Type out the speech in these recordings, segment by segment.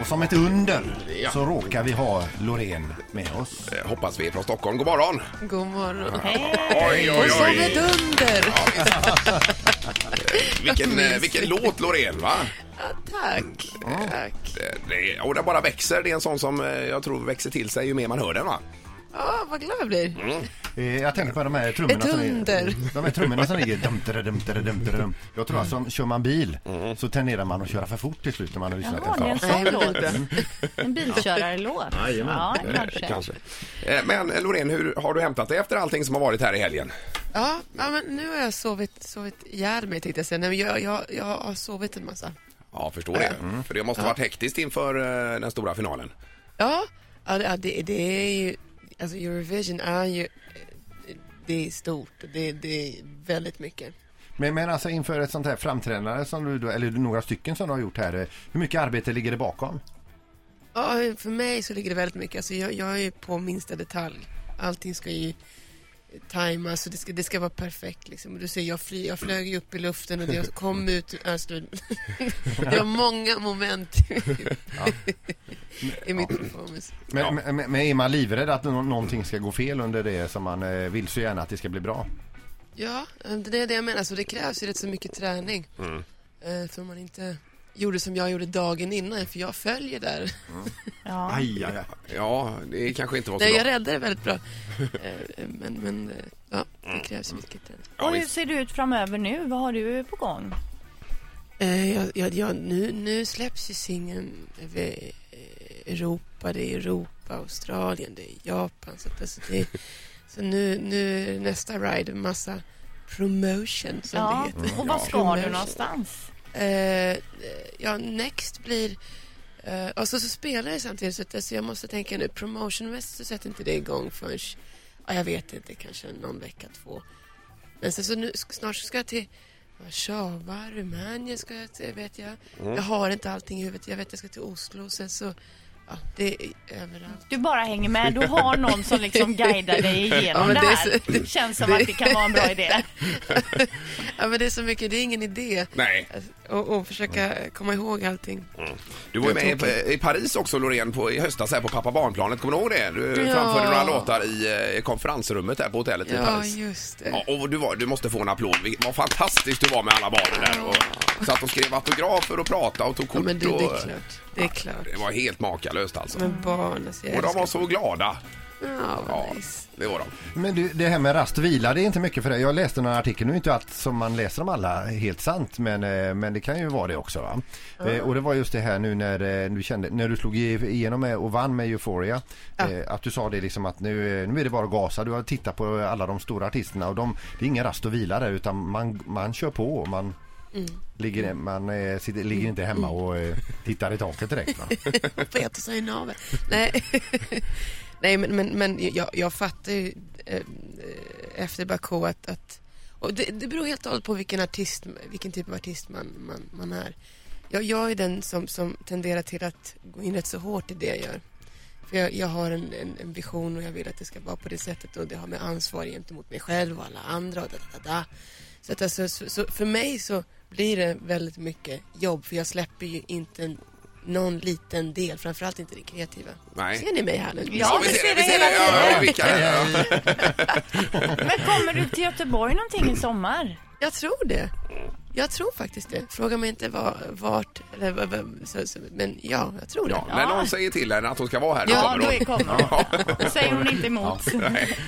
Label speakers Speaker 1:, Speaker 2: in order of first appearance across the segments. Speaker 1: Och som ett under så råkar vi ha Loreen med oss.
Speaker 2: Eh, Hoppas vi är från Stockholm. God morgon! Eh,
Speaker 3: God morgon.
Speaker 2: Oj,
Speaker 3: Och som ett under.
Speaker 2: Vilken, eh, vilken låt Loreen va?
Speaker 3: Ja, tack. tack.
Speaker 2: Eh, Det, är- och den bara växer. Det är en sån som eh, jag tror växer till sig ju mer man hör den va?
Speaker 3: Ja, vad glad jag
Speaker 2: Mm.
Speaker 3: blir.
Speaker 1: Eh, Jag tänker på de här trummorna
Speaker 3: Ett
Speaker 1: som
Speaker 3: under.
Speaker 1: är, de här trummorna som ligger dum, tada, dum, tada, dum, tada, dum. Jag tror alltså, kör man bil så tenderar man att köra för fort till slut när man har lyssnat
Speaker 4: Jaha, det är en sån
Speaker 3: Nej,
Speaker 4: låt.
Speaker 2: Mm.
Speaker 3: inte.
Speaker 4: En bilkörarlåt. Ja, kanske.
Speaker 2: Eh, Men eh, Loreen, hur har du hämtat dig efter allting som har varit här i helgen?
Speaker 3: Ja, ja, men nu har jag sovit, sovit ihjäl mig tänkte jag säga. Nej, men jag, jag, jag har sovit en massa.
Speaker 2: Ja, förstår det. För det måste ha varit hektiskt inför eh, den stora finalen.
Speaker 3: Ja, ja det, ja, det, det är ju, alltså Eurovision är ju, eh, det är stort. Det, det är väldigt mycket.
Speaker 1: Men, men alltså inför ett sånt här framträdande som du, då- eller några stycken som du har gjort här, eh, hur mycket arbete ligger det bakom?
Speaker 3: Ja, för mig så ligger det väldigt mycket. Alltså jag, jag är ju på minsta detalj. Allting ska ju tajmas och det ska, det ska vara perfekt. Liksom. Och du ser, jag, fly, jag flög ju upp i luften och det- jag kom ut ur alltså, Det var många moment i mitt performance.
Speaker 1: Men, men, men är man livrädd att nå- någonting ska gå fel under det som man eh, vill så gärna att det ska bli bra?
Speaker 3: Ja, det är det jag menar. Så det krävs ju rätt så mycket träning. Eh, För om man inte gjorde som jag gjorde dagen innan, för jag följer där.
Speaker 4: Ja.
Speaker 1: Aj, aj, aj.
Speaker 2: Ja, det kanske inte var så
Speaker 3: Nej, jag
Speaker 2: bra.
Speaker 3: räddade det väldigt bra. Eh, Men, men eh, ja, det krävs mycket träning.
Speaker 4: Och hur
Speaker 2: visst.
Speaker 4: ser det ut framöver nu? Vad har du på gång?
Speaker 3: Eh, ja, ja, ja, nu, nu släpps ju singeln över eh, Europa, det är Europa, Australien, det är Japan. Så, att, alltså, det är, så nu, nu är det nästa ride, massa promotion som
Speaker 4: Ja.
Speaker 3: det heter.
Speaker 4: Och vad ska
Speaker 3: Promotion.
Speaker 4: du någonstans?
Speaker 3: Eh, eh, ja, next blir... Eh, och så, så spelar jag samtidigt, så att, alltså, jag måste tänka nu. Promotionmässigt så sätter inte det igång förrän... Ja, jag vet inte, kanske någon vecka, två. Men sen så nu, sk- snart så ska jag till Warszawa, Rumänien ska jag till, vet jag.
Speaker 2: Mm.
Speaker 3: Jag har inte allting i huvudet. Jag vet jag ska till Oslo, sen så... Ja, det är överallt.
Speaker 4: Du bara hänger med. Du har någon som liksom guidar dig
Speaker 3: Ja,
Speaker 4: igenom
Speaker 3: men
Speaker 4: det
Speaker 3: det är
Speaker 4: här.
Speaker 3: så-
Speaker 4: Det känns som att det kan vara en bra idé.
Speaker 3: Ja, men det är så mycket, det är ingen idé.
Speaker 2: Nej. Mm.
Speaker 3: Alltså, Och, och försöka eh, komma ihåg allting.
Speaker 2: Du var ju
Speaker 3: Jag
Speaker 2: med
Speaker 3: tror
Speaker 2: i, i Paris också Loreen på, i höstas här på pappa barnplanet. Kommer du ihåg det? Du
Speaker 3: Ja.
Speaker 2: framförde några låtar i eh, konferensrummet här på hotellet i
Speaker 3: Ja,
Speaker 2: Paris.
Speaker 3: just det.
Speaker 2: Ja, och du, var, du måste få en applåd. Vi- Vad fantastiskt du var med alla barn där. Och satt och skrev autografer och pratade och tog
Speaker 3: Ja,
Speaker 2: kort.
Speaker 3: men det, det
Speaker 2: och,
Speaker 3: är klart. Det är klart.
Speaker 2: det var helt makalöst alltså.
Speaker 3: Men barn, alltså jag
Speaker 2: Och de
Speaker 3: älskar
Speaker 2: var så glada.
Speaker 3: Ja, vad
Speaker 2: Ja,
Speaker 3: nice.
Speaker 2: det var de.
Speaker 1: Men du, det här med rast och vila, det är inte mycket för dig. Jag läste några artikel, nu är inte allt som man läser om alla helt sant, men, eh, men det kan ju vara det också. Va? Eh, och det var just det här nu när eh, du kände, när du slog i- igenom med och vann med Euphoria, eh, att du sa det liksom att nu, eh, nu är det bara att gasa. Du har tittat på alla de stora artisterna och de, det är ingen rast och vila där utan man, man kör på. och Man, Ligger, man eh, sitter, ligger inte hemma och eh, tittar i taket direkt. Va?
Speaker 3: Fet och i naveln. Nej, Nej men, men, men jag, jag fattar ju eh, efter Baku att, att och det, det beror helt och hållet på vilken, artist, vilken typ av artist man, man, man är. Jag, jag är den som, som tenderar till att gå in rätt så hårt i det jag gör. För jag, jag har en, en, en vision och jag vill att det ska vara på det sättet och det har med ansvar gentemot mig själv och alla andra och da, da, da, da. Så, att alltså, så, så för mig så blir det väldigt mycket jobb för jag släpper ju inte en, någon liten del, framförallt inte det kreativa.
Speaker 2: Nej.
Speaker 3: Ser ni mig här nu?
Speaker 4: Ja, vi ser det hela
Speaker 2: Ja,
Speaker 4: tiden.
Speaker 2: ja, vilka, ja.
Speaker 4: Men kommer du till Göteborg någonting i sommar?
Speaker 3: Jag tror det. Jag tror faktiskt det. Fråga mig inte var, vart, eller, v- v- så, så, men ja, jag tror det.
Speaker 2: Ja, när någon säger till henne att hon ska vara här,
Speaker 3: Ja,
Speaker 4: då är- kommer hon.
Speaker 2: Ja.
Speaker 4: Säger hon inte emot.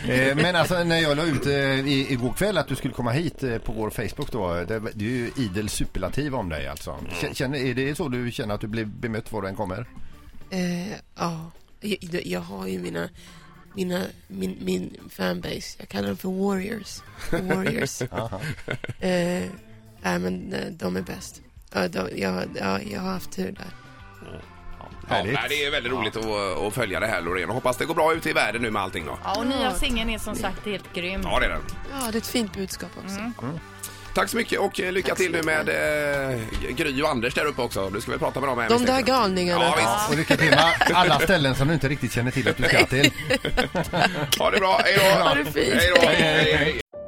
Speaker 1: Eh, Men alltså när jag la ut eh, i, igår kväll att du skulle komma hit eh, på vår Facebook då. Det, det är ju idel superlativ om dig alltså. K- Känner, är det så du känner att du blir bemött var du än kommer?
Speaker 3: Eh, ja. Jag, jag har ju mina, mina min, min fanbase. Jag kallar dem för warriors. Warriors. eh, nej, men eh, de är bäst. Ja, de, jag, ja, jag har haft tur där.
Speaker 2: Ja,
Speaker 1: Härligt.
Speaker 2: nej, det är väldigt roligt att, att följa det här Loreen. Och Hoppas det går bra ute i världen nu med allting då.
Speaker 4: Ja, och nya singeln är som sagt helt grym.
Speaker 2: Ja, det är den.
Speaker 3: Ja, det är ett fint budskap också.
Speaker 2: Tack så mycket och eh, lycka
Speaker 3: Tack så
Speaker 2: till nu med eh, Gry och Anders där uppe också. Du ska väl prata med dem här.
Speaker 3: De
Speaker 2: misstänker
Speaker 3: där
Speaker 2: jag.
Speaker 3: galningarna.
Speaker 2: Ja, visst.
Speaker 1: Och lycka till med alla ställen som du inte riktigt känner till att du ska till.
Speaker 2: Ha det bra. Hej då.
Speaker 3: Ha det fint.
Speaker 2: Hej då. Hej, hej.